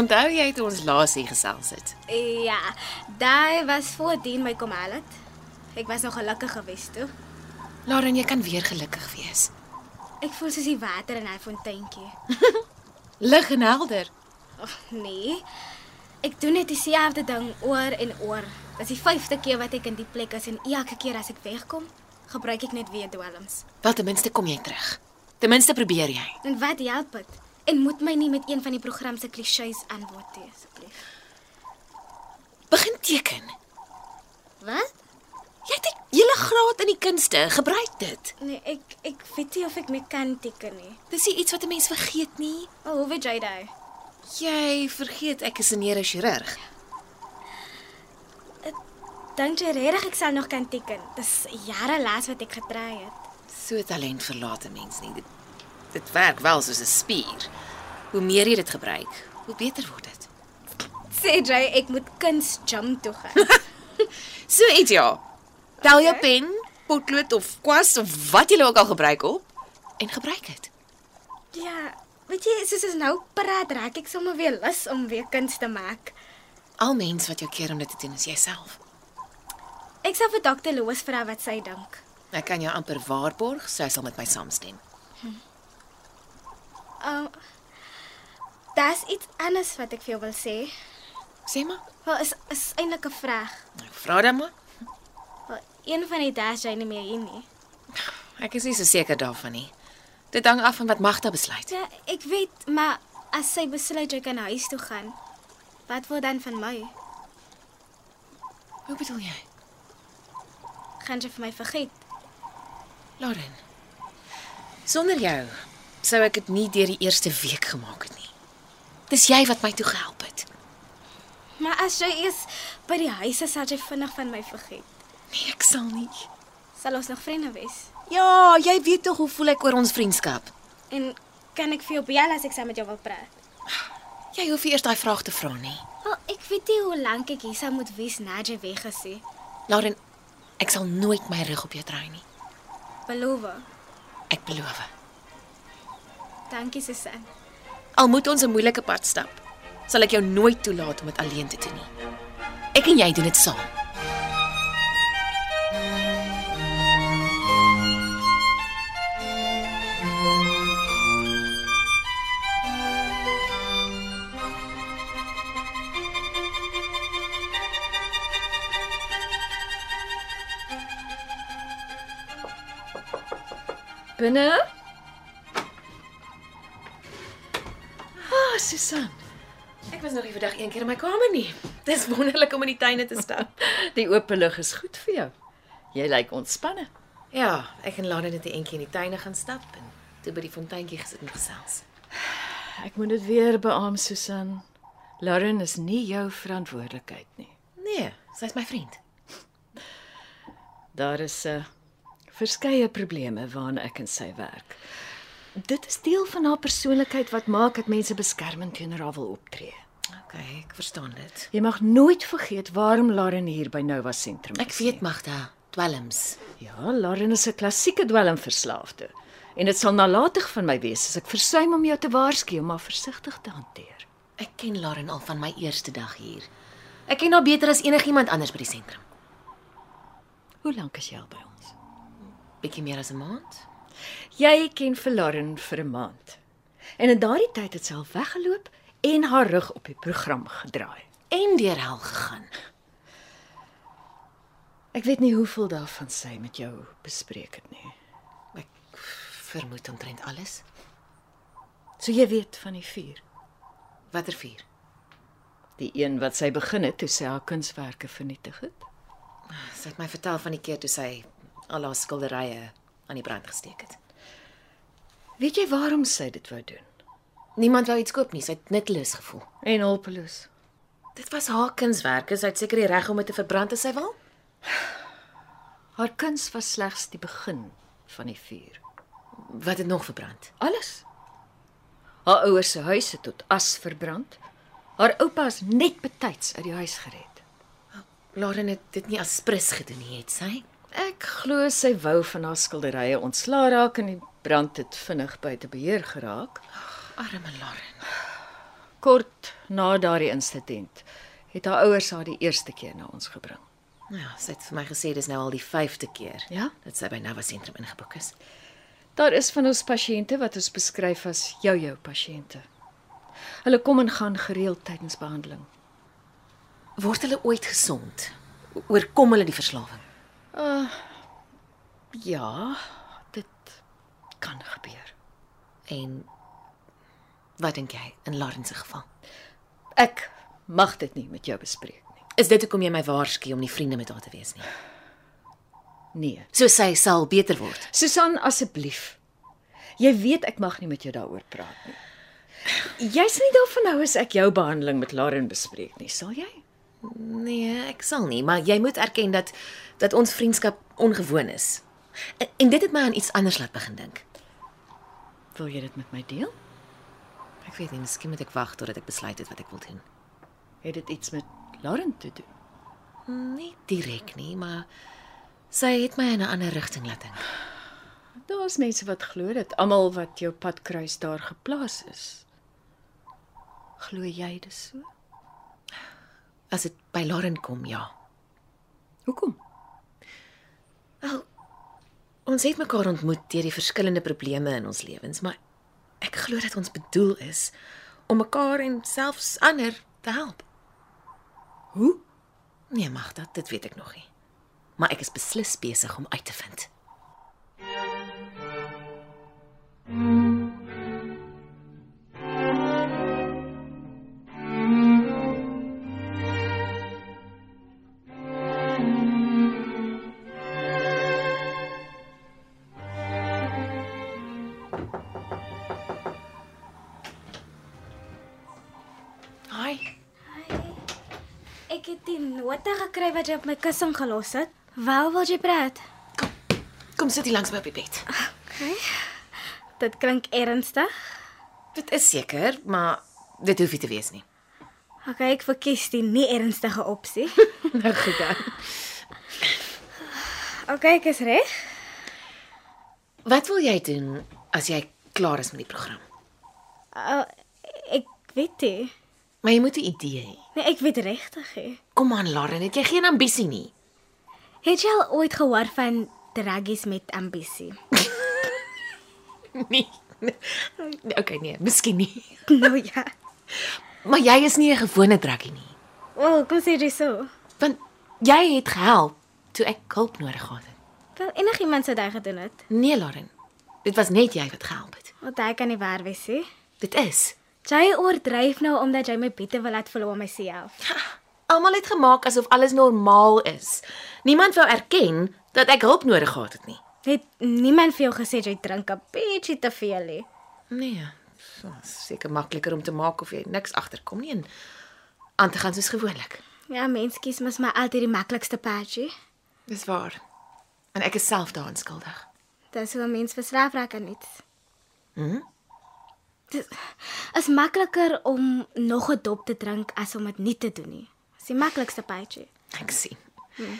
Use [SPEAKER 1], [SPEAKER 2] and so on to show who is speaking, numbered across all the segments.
[SPEAKER 1] Onthou jy het ons laas hier gesels het?
[SPEAKER 2] Ja, daai was voordien my kom haal het. Ek was nog gelukkig geweest toe.
[SPEAKER 1] Lauren, jy kan weer gelukkig wees.
[SPEAKER 2] Ek voel soos die water in 'n fonteintjie.
[SPEAKER 1] Lig en helder.
[SPEAKER 2] Ag nee. Ek doen net dieselfde ding oor en oor. Dis die 5de keer wat ek in die plek is en elke keer as ek wegkom, gebruik ek net weer dwelms.
[SPEAKER 1] Wel ten minste kom jy terug. Ten minste probeer jy.
[SPEAKER 2] En wat help dit? En moet my nie met een van die program se klisjées antwoord gee asseblief.
[SPEAKER 1] Begin teken.
[SPEAKER 2] Wat?
[SPEAKER 1] Jy het 'n hele graad in die kunste. Gebruik dit.
[SPEAKER 2] Nee, ek ek weet nie of ek mee kan teken nie.
[SPEAKER 1] Dis nie iets wat 'n mens vergeet nie.
[SPEAKER 2] Maar hoe weet jy dit?
[SPEAKER 1] Jy vergeet ek is 'n neurochirurg.
[SPEAKER 2] Dink jy regtig ek sal nog kan teken? Dis jare laas wat ek getrei het.
[SPEAKER 1] So talent verlaat 'n mens nie. Dit, dit werk wel soos 'n spier. Hoe meer jy dit gebruik, hoe beter word dit.
[SPEAKER 2] Sê jy ek moet kuns gym toe gaan?
[SPEAKER 1] So iets ja. Tel jou
[SPEAKER 2] Okay.
[SPEAKER 1] pen, potlood of kwas of wat jy nou ook al gebruik op en gebruik dit.
[SPEAKER 2] ja, weet jy, soos ons nou praat, raak ek sommer weer lus om weer kuns te maak.
[SPEAKER 1] Al mens wat jou keer om dit te doen is jouself.
[SPEAKER 2] Ek sal vir dokter Loos vra wat sy dink.
[SPEAKER 1] Ek kan jou amper waarborg, sy sal met my saamstem.
[SPEAKER 2] Um Daar's iets anders wat ek vir jou wil sê.
[SPEAKER 1] Sê maar.
[SPEAKER 2] Wel is is eintlik 'n vraag.
[SPEAKER 1] Nou vra dan maar.
[SPEAKER 2] Wel, een van die dae is jy nie meer hier nie.
[SPEAKER 1] Ek is nie so seker daarvan nie. Dit hang af van wat Magda besluit.
[SPEAKER 2] Ja, ek weet, maar as sy besluit jy kan huis toe gaan, wat word dan van my?
[SPEAKER 1] Hoe bedoel jy?
[SPEAKER 2] Gaan jy vir my vergeet?
[SPEAKER 1] Lauren. Sonder jou sou ek dit nie deur die eerste week gemaak het nie. Dis jy wat my toe gehelp het.
[SPEAKER 2] Maar as jy eers by die huis is, sal jy vinnig van my vergeet.
[SPEAKER 1] Nee, ek sal nie.
[SPEAKER 2] Sal ons nog vriende wees?
[SPEAKER 1] Ja, jy weet tog hoe voel ek oor ons vriendskap.
[SPEAKER 2] En kan ek vir jou bel as ek saam met jou wil praat?
[SPEAKER 1] Jy hoef nie eers daai vraag te vra nie.
[SPEAKER 2] Wel, ek weet nie hoe lank ek hier sou moet wees nadat jy weg is nie.
[SPEAKER 1] Lauren, ek sal nooit my rug op jou draai nie.
[SPEAKER 2] Beloof.
[SPEAKER 1] Ek beloof.
[SPEAKER 2] Dankie, Susan.
[SPEAKER 1] Al moet ons 'n moeilike pad stap, sal ek jou nooit toelaat om dit alleen te doen nie. Ek en jy doen dit saam.
[SPEAKER 3] Binne?
[SPEAKER 1] Ah, Susan. Ek was nog nie vandag een keer in my kamer nie. Dis wonderlik om in die tuine te stap.
[SPEAKER 3] Die oop lug is goed vir jou. Jy lyk ontspanne.
[SPEAKER 1] ja, ek en Lauren het 'n entjie in die tuine gaan stap en toe by die fonteintjie gesit en gesels.
[SPEAKER 3] Ek moet dit weer beamoen, Susan. Lauren is nie jou verantwoordelikheid nie.
[SPEAKER 1] Nee, sy's my vriend.
[SPEAKER 3] Daar is 'n uh, verskeie probleme waaraan ek en sy werk. Dit is deel van haar persoonlikheid wat maak dat mense beskermend teenoor haar wil optree.
[SPEAKER 1] Okay, ek verstaan dit.
[SPEAKER 3] Jy mag nooit vergeet waarom Lauren hier by Nova Sentrum is.
[SPEAKER 1] Ek weet Magda, dwelms.
[SPEAKER 3] nie. Ja, Lauren is 'n klassieke dwelmverslaafde en dit sal nalatig van my wees as ek versuim om jou te waarsku om haar versigtig te hanteer.
[SPEAKER 1] Ek ken Lauren al van my eerste dag hier. Ek ken haar beter as enigiemand anders by die sentrum.
[SPEAKER 3] Hoe lank is jy al by ons?
[SPEAKER 1] Bietjie meer as 'n maand.
[SPEAKER 3] Jy ken vir Lauren vir 'n maand. En in daardie tyd het sy al weggeloop en haar rug op die program gedraai.
[SPEAKER 1] En deur hel gegaan.
[SPEAKER 3] Ek weet nie hoeveel daarvan sy met jou bespreek het nie.
[SPEAKER 1] Ek vermoed omtrent alles.
[SPEAKER 3] So jy weet van die vuur,
[SPEAKER 1] Watter vuur?
[SPEAKER 3] die een wat sy begin het toe sy haar kunswerke vernietig het.
[SPEAKER 1] Sy het my vertel van die keer toe sy al haar skilderye aan die brand gesteek het.
[SPEAKER 3] Weet jy waarom sy dit wou doen?
[SPEAKER 1] Niemand wou iets koop nie, sy het nutteloos gevoel.
[SPEAKER 3] En hulpeloos.
[SPEAKER 1] Dit was haar kunswerke, sy het seker die reg om dit te verbrand as sy wil.
[SPEAKER 3] Haar kuns was slegs die begin van die vuur.
[SPEAKER 1] Wat het nog verbrand?
[SPEAKER 3] Alles. Haar ouers se huis het tot as verbrand. Haar oupa is net betyds uit die huis gered.
[SPEAKER 1] Lauren het dit nie as prins gedoen nie, het sy?
[SPEAKER 3] Ek glo sy wou van haar skilderye ontslaa raak en die brand het vinnig buite beheer geraak.
[SPEAKER 1] Arme Lauren.
[SPEAKER 3] Kort na daardie insident het haar ouers haar die eerste keer na ons gebring.
[SPEAKER 1] Nou ja, sy het vir my gesê dis nou al die 5de keer
[SPEAKER 3] Ja?
[SPEAKER 1] dat sy by Nava sentrum ingeboek is.
[SPEAKER 3] Daar is van ons pasiënte wat ons beskryf as jou-jou pasiënte. Hulle kom en gaan gereeld tydens behandeling.
[SPEAKER 1] Word hulle ooit gesond? O- Oorkom hulle die verslawing?
[SPEAKER 3] Ja, dit kan gebeur.
[SPEAKER 1] En wat dink jy in Lauren se geval?
[SPEAKER 3] Ek mag dit nie met jou bespreek nie.
[SPEAKER 1] Is dit hoekom jy my waarsku om nie vriende met haar te wees nie?
[SPEAKER 3] Nee.
[SPEAKER 1] So sy sal beter word.
[SPEAKER 3] Susan, asseblief. Jy weet ek mag nie met jou daaroor praat nie. Jy's nie daarvan nou as ek jou behandeling met Lauren bespreek nie, sal jy?
[SPEAKER 1] Nee, ek sal nie, maar jy moet erken dat dat ons vriendskap ongewoon is. En, en dit het my aan iets anders laat begin dink.
[SPEAKER 3] Wil jy dit met my deel?
[SPEAKER 1] Ek weet nie, miskien moet ek wag totdat ek besluit het wat ek wil doen.
[SPEAKER 3] Het dit iets met Lauren te doen?
[SPEAKER 1] Nie direk nie, maar sy het my in 'n ander rigting laat dink.
[SPEAKER 3] Daar's mense wat glo dat almal wat jou pad kruis daar geplaas is. Glo jy dis so?
[SPEAKER 1] As dit by Lauren kom, ja.
[SPEAKER 3] Hoekom?
[SPEAKER 1] Wel, ons het mekaar ontmoet deur die verskillende probleme in ons lewens, maar ek glo dat ons bedoel is om mekaar en selfs ander te help.
[SPEAKER 3] Hoe?
[SPEAKER 1] Nee, mag dat, dit weet ek nog nie. Maar ek is beslis besig om uit te vind. Hi.
[SPEAKER 2] Ek het die nota gekry wat jy op my kussing gelos het. Wel wil jy praat?
[SPEAKER 1] Kom sit hier langs my op die bed.
[SPEAKER 2] Dit klink ernstig.
[SPEAKER 1] Dit is seker, maar dit hoef nie te wees nie.
[SPEAKER 2] OK, ek verkies die nie ernstige opsie.
[SPEAKER 1] Nou goed dan.
[SPEAKER 2] OK, ek is reg.
[SPEAKER 1] Wat wil jy doen as jy klaar is met die program?
[SPEAKER 2] Uh, ek weet dit.
[SPEAKER 1] Maar jy moet 'n idee hê.
[SPEAKER 2] Nee, ek weet regtig nie.
[SPEAKER 1] Kom aan, Lauren, het jy geen ambisie nie?
[SPEAKER 2] Het jy al ooit gehoor van draggies met ambisie?
[SPEAKER 1] Nee. Okay, nee, miskien nie.
[SPEAKER 2] nou ja.
[SPEAKER 1] Maar jy is nie 'n gewone trekkie nie,
[SPEAKER 2] Wel, kom sê jy so.
[SPEAKER 1] want jy het gehelp toe ek hulp nodig gehad het.
[SPEAKER 2] Wel enigiemand sou dit gedoen het.
[SPEAKER 1] Nee, Lauren. Dit was net jy wat gehelp het.
[SPEAKER 2] Want hy kan nie waar wees nie.
[SPEAKER 1] Dit is.
[SPEAKER 2] Jy oordryf nou omdat jy my biete wil laat verloor myself.
[SPEAKER 1] Almal het gemaak asof alles normaal is. Niemand wou erken dat ek hulp nodig gehad het nie.
[SPEAKER 2] Het niemand vir jou gesê jy drink 'n bietjie te veel nie?
[SPEAKER 1] Nee, dit is seker makliker om te maak of jy niks agterkom nie en aan te gaan soos gewoonlik.
[SPEAKER 2] Ja, mens kies mos maar altyd die maklikste paadjie.
[SPEAKER 1] Dis waar. En ek is self daaraan skuldig.
[SPEAKER 2] Dis hoe 'n mens verslaaf raak aan iets.
[SPEAKER 1] Mhm.
[SPEAKER 2] Dit is makliker om nog 'n dop te drink as om dit nie te doen nie. Dis die maklikste paadjie.
[SPEAKER 1] Ek sien. Hmm.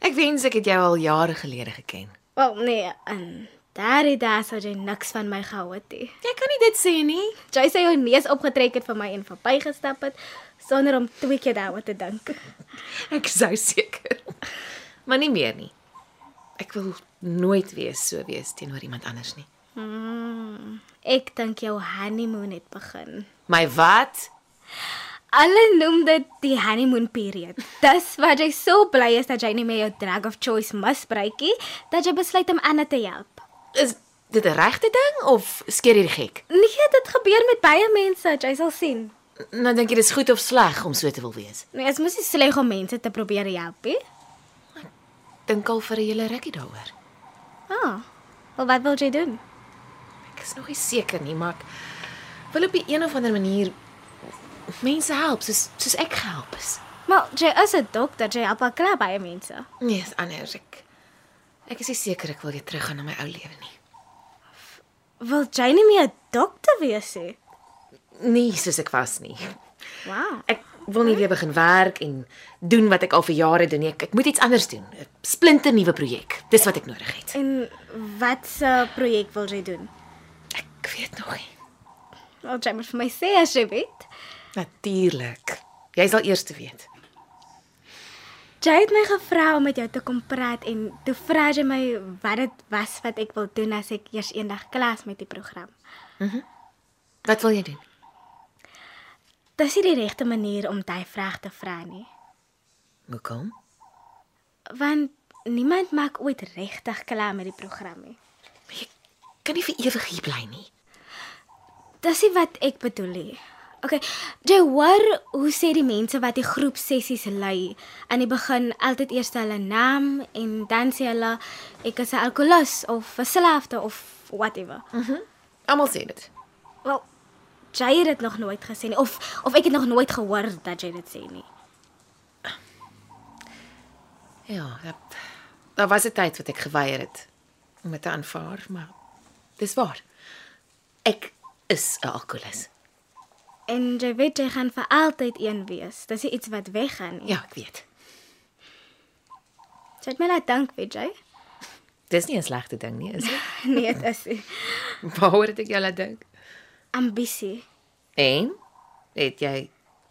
[SPEAKER 1] Ek wens ek het jou al jare gelede geken.
[SPEAKER 2] Wel nee, en daardie dae sou jy niks van my gehou het nie.
[SPEAKER 1] Jy kan nie dit sê nie.
[SPEAKER 2] Jy sê jou neus opgetrek het vir my en verbygestap het sonder om twee keer daaroor te dink.
[SPEAKER 1] Ek is sou seker. Maar nie meer nie. Ek wil nooit weer so wees teenoor iemand anders nie.
[SPEAKER 2] Hmm, ek dink jou honeymoon het begin.
[SPEAKER 1] My wat?
[SPEAKER 2] Hulle noem dit die honeymoon period. Dis wat jy so bly is dat jy nie meer jou drug of choice misbruik nie, dat jy besluit om ander te help.
[SPEAKER 1] Is dit 'n regte ding of skeer jy die gek?
[SPEAKER 2] Nee, dit gebeur met baie mense, jy sal sien.
[SPEAKER 1] Nou dink jy dis goed of sleg om so te wil wees?
[SPEAKER 2] Nee, dit mos nie sleg om mense te probeer help nie.
[SPEAKER 1] Dink al vir 'n hele rukkie daaroor.
[SPEAKER 2] Ah. Wel wat wil jy doen?
[SPEAKER 1] Ek is nog nie seker nie, maar ek wil op 'n of ander manier mense help soos soos ek gehelp is.
[SPEAKER 2] Maar jy is 'n dokter, jy help al klaar baie mense.
[SPEAKER 1] Nee, is anders. Ek ek is nie seker ek wil weer teruggaan na my ou lewe nie.
[SPEAKER 2] Wil jy nie meer 'n dokter wees nie?
[SPEAKER 1] Nee, soos ek was nie.
[SPEAKER 2] Wow.
[SPEAKER 1] Ek wil nie weer begin werk en doen wat ek al vir jare doen nie. Ek, ek moet iets anders doen. 'n Splinte nuwe projek. Dis wat ek nodig het.
[SPEAKER 2] En wat se projek wil jy doen?
[SPEAKER 1] Ek weet nog nie.
[SPEAKER 2] Wil jy moet vir my sê as jy weet?
[SPEAKER 1] Natuurlik. Jy sal eers weet.
[SPEAKER 2] Jy het my gevra om met jou te kom praat en toe vra jy my wat dit was wat ek wil doen as ek eers eendag klas met die program.
[SPEAKER 1] Wat wil jy doen?
[SPEAKER 2] Dis nie die regte manier om daai vraag te vra nie,
[SPEAKER 1] Hoekom?
[SPEAKER 2] want niemand maak ooit regtig klaar met die program nie.
[SPEAKER 1] Kan nie vir ewig hier bly nie.
[SPEAKER 2] Dis nie wat ek bedoel nie. OK, jy hoor hoe sê die mense wat die groep sessies lei, aan die begin altyd eers hulle naam en dan sê hulle ek is 'n alkolikus of verslaafde of whatever.
[SPEAKER 1] Almal sê dit.
[SPEAKER 2] Wel, jy het dit nog nooit gesê nie of of ek het nog nooit gehoor dat jy dit sê nie.
[SPEAKER 1] Ja, dat, daar was 'n tyd wat ek geweier het om dit te aanvaar, maar dis waar. Ek is 'n alkolikus.
[SPEAKER 2] En jy weet jy gaan vir altyd een wees. Dis nie iets wat weggaan nie.
[SPEAKER 1] Ja, ek weet.
[SPEAKER 2] Jy het my laat dink, weet jy?
[SPEAKER 1] Dis nie 'n slegte ding nie, is dit?
[SPEAKER 2] Nee, dit is nie.
[SPEAKER 1] Waaroor het ek jou laat dink?
[SPEAKER 2] ambisie.
[SPEAKER 1] En het jy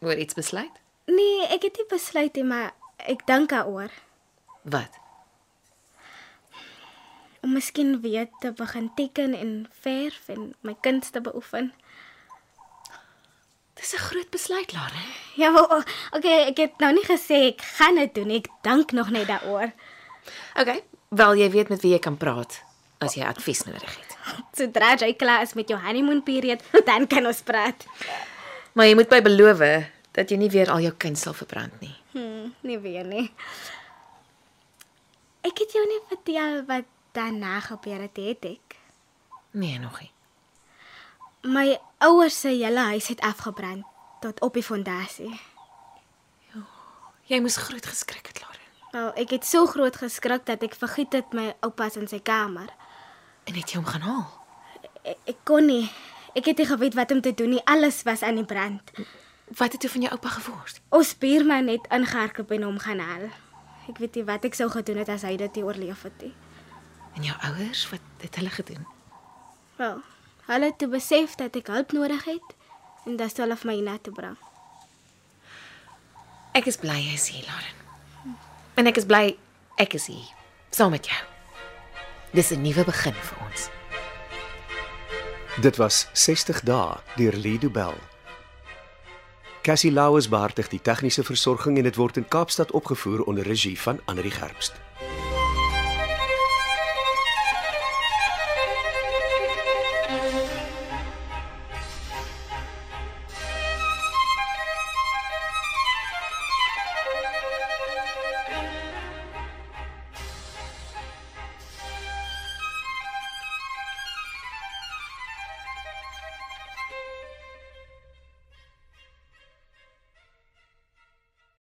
[SPEAKER 1] oor iets besluit?
[SPEAKER 2] Nee, ek het nie besluit nie, maar ek dink daaroor.
[SPEAKER 1] Wat?
[SPEAKER 2] om miskien weer te begin teken en verf en my kuns te beoefen.
[SPEAKER 1] Dis 'n groot besluit, Lara.
[SPEAKER 2] Ja, wel, okay, ek het nou nie gesê ek gaan dit doen nie. Ek dink nog net daaroor.
[SPEAKER 1] Okay, wel jy weet met wie jy kan praat as jy advies nodig het.
[SPEAKER 2] Sodra jy klaar is met jou honeymoon period, dan kan ons praat.
[SPEAKER 1] Maar jy moet by beloof dat jy nie weer al jou kind sal verbrand nie.
[SPEAKER 2] Hm, nie weer nie. Ek het jou nie vertel wat daarna gebeur het, het ek.
[SPEAKER 1] Nee, nog nie.
[SPEAKER 2] My ouers se hele huis het afgebrand tot op die fondasie.
[SPEAKER 1] Jy moes groot geskrik het, Lara.
[SPEAKER 2] Wel, ek het so groot geskrik dat ek vergeet het my oupa is in sy kamer.
[SPEAKER 1] En het jy hom gaan haal?
[SPEAKER 2] Ek, ek kon nie. Eh, Ek het nie geweet wat om te doen nie. Alles was aan die brand.
[SPEAKER 1] Wat het toe van jou oupa geword?
[SPEAKER 2] Ons buurman het ingehardloop en hom gaan haal. Ek weet nie wat ek sou gedoen het as hy dit nie oorleef het nie.
[SPEAKER 1] En jou ouers, wat het hulle gedoen?
[SPEAKER 2] Wel, hulle het toe besef dat ek hulp nodig het en dat hulle vir my hiernatoe bring.
[SPEAKER 1] Ek is bly jy is hier, Lauren. En ek is bly ek is hier saam met jou. Dis 'n nuwe begin vir ons.
[SPEAKER 4] Dit was 60 dae deur Lido Bell. Cassie Lauers beheer die tegniese versorging en dit word in Kaapstad opgevoer onder regie van Anri Gerbst.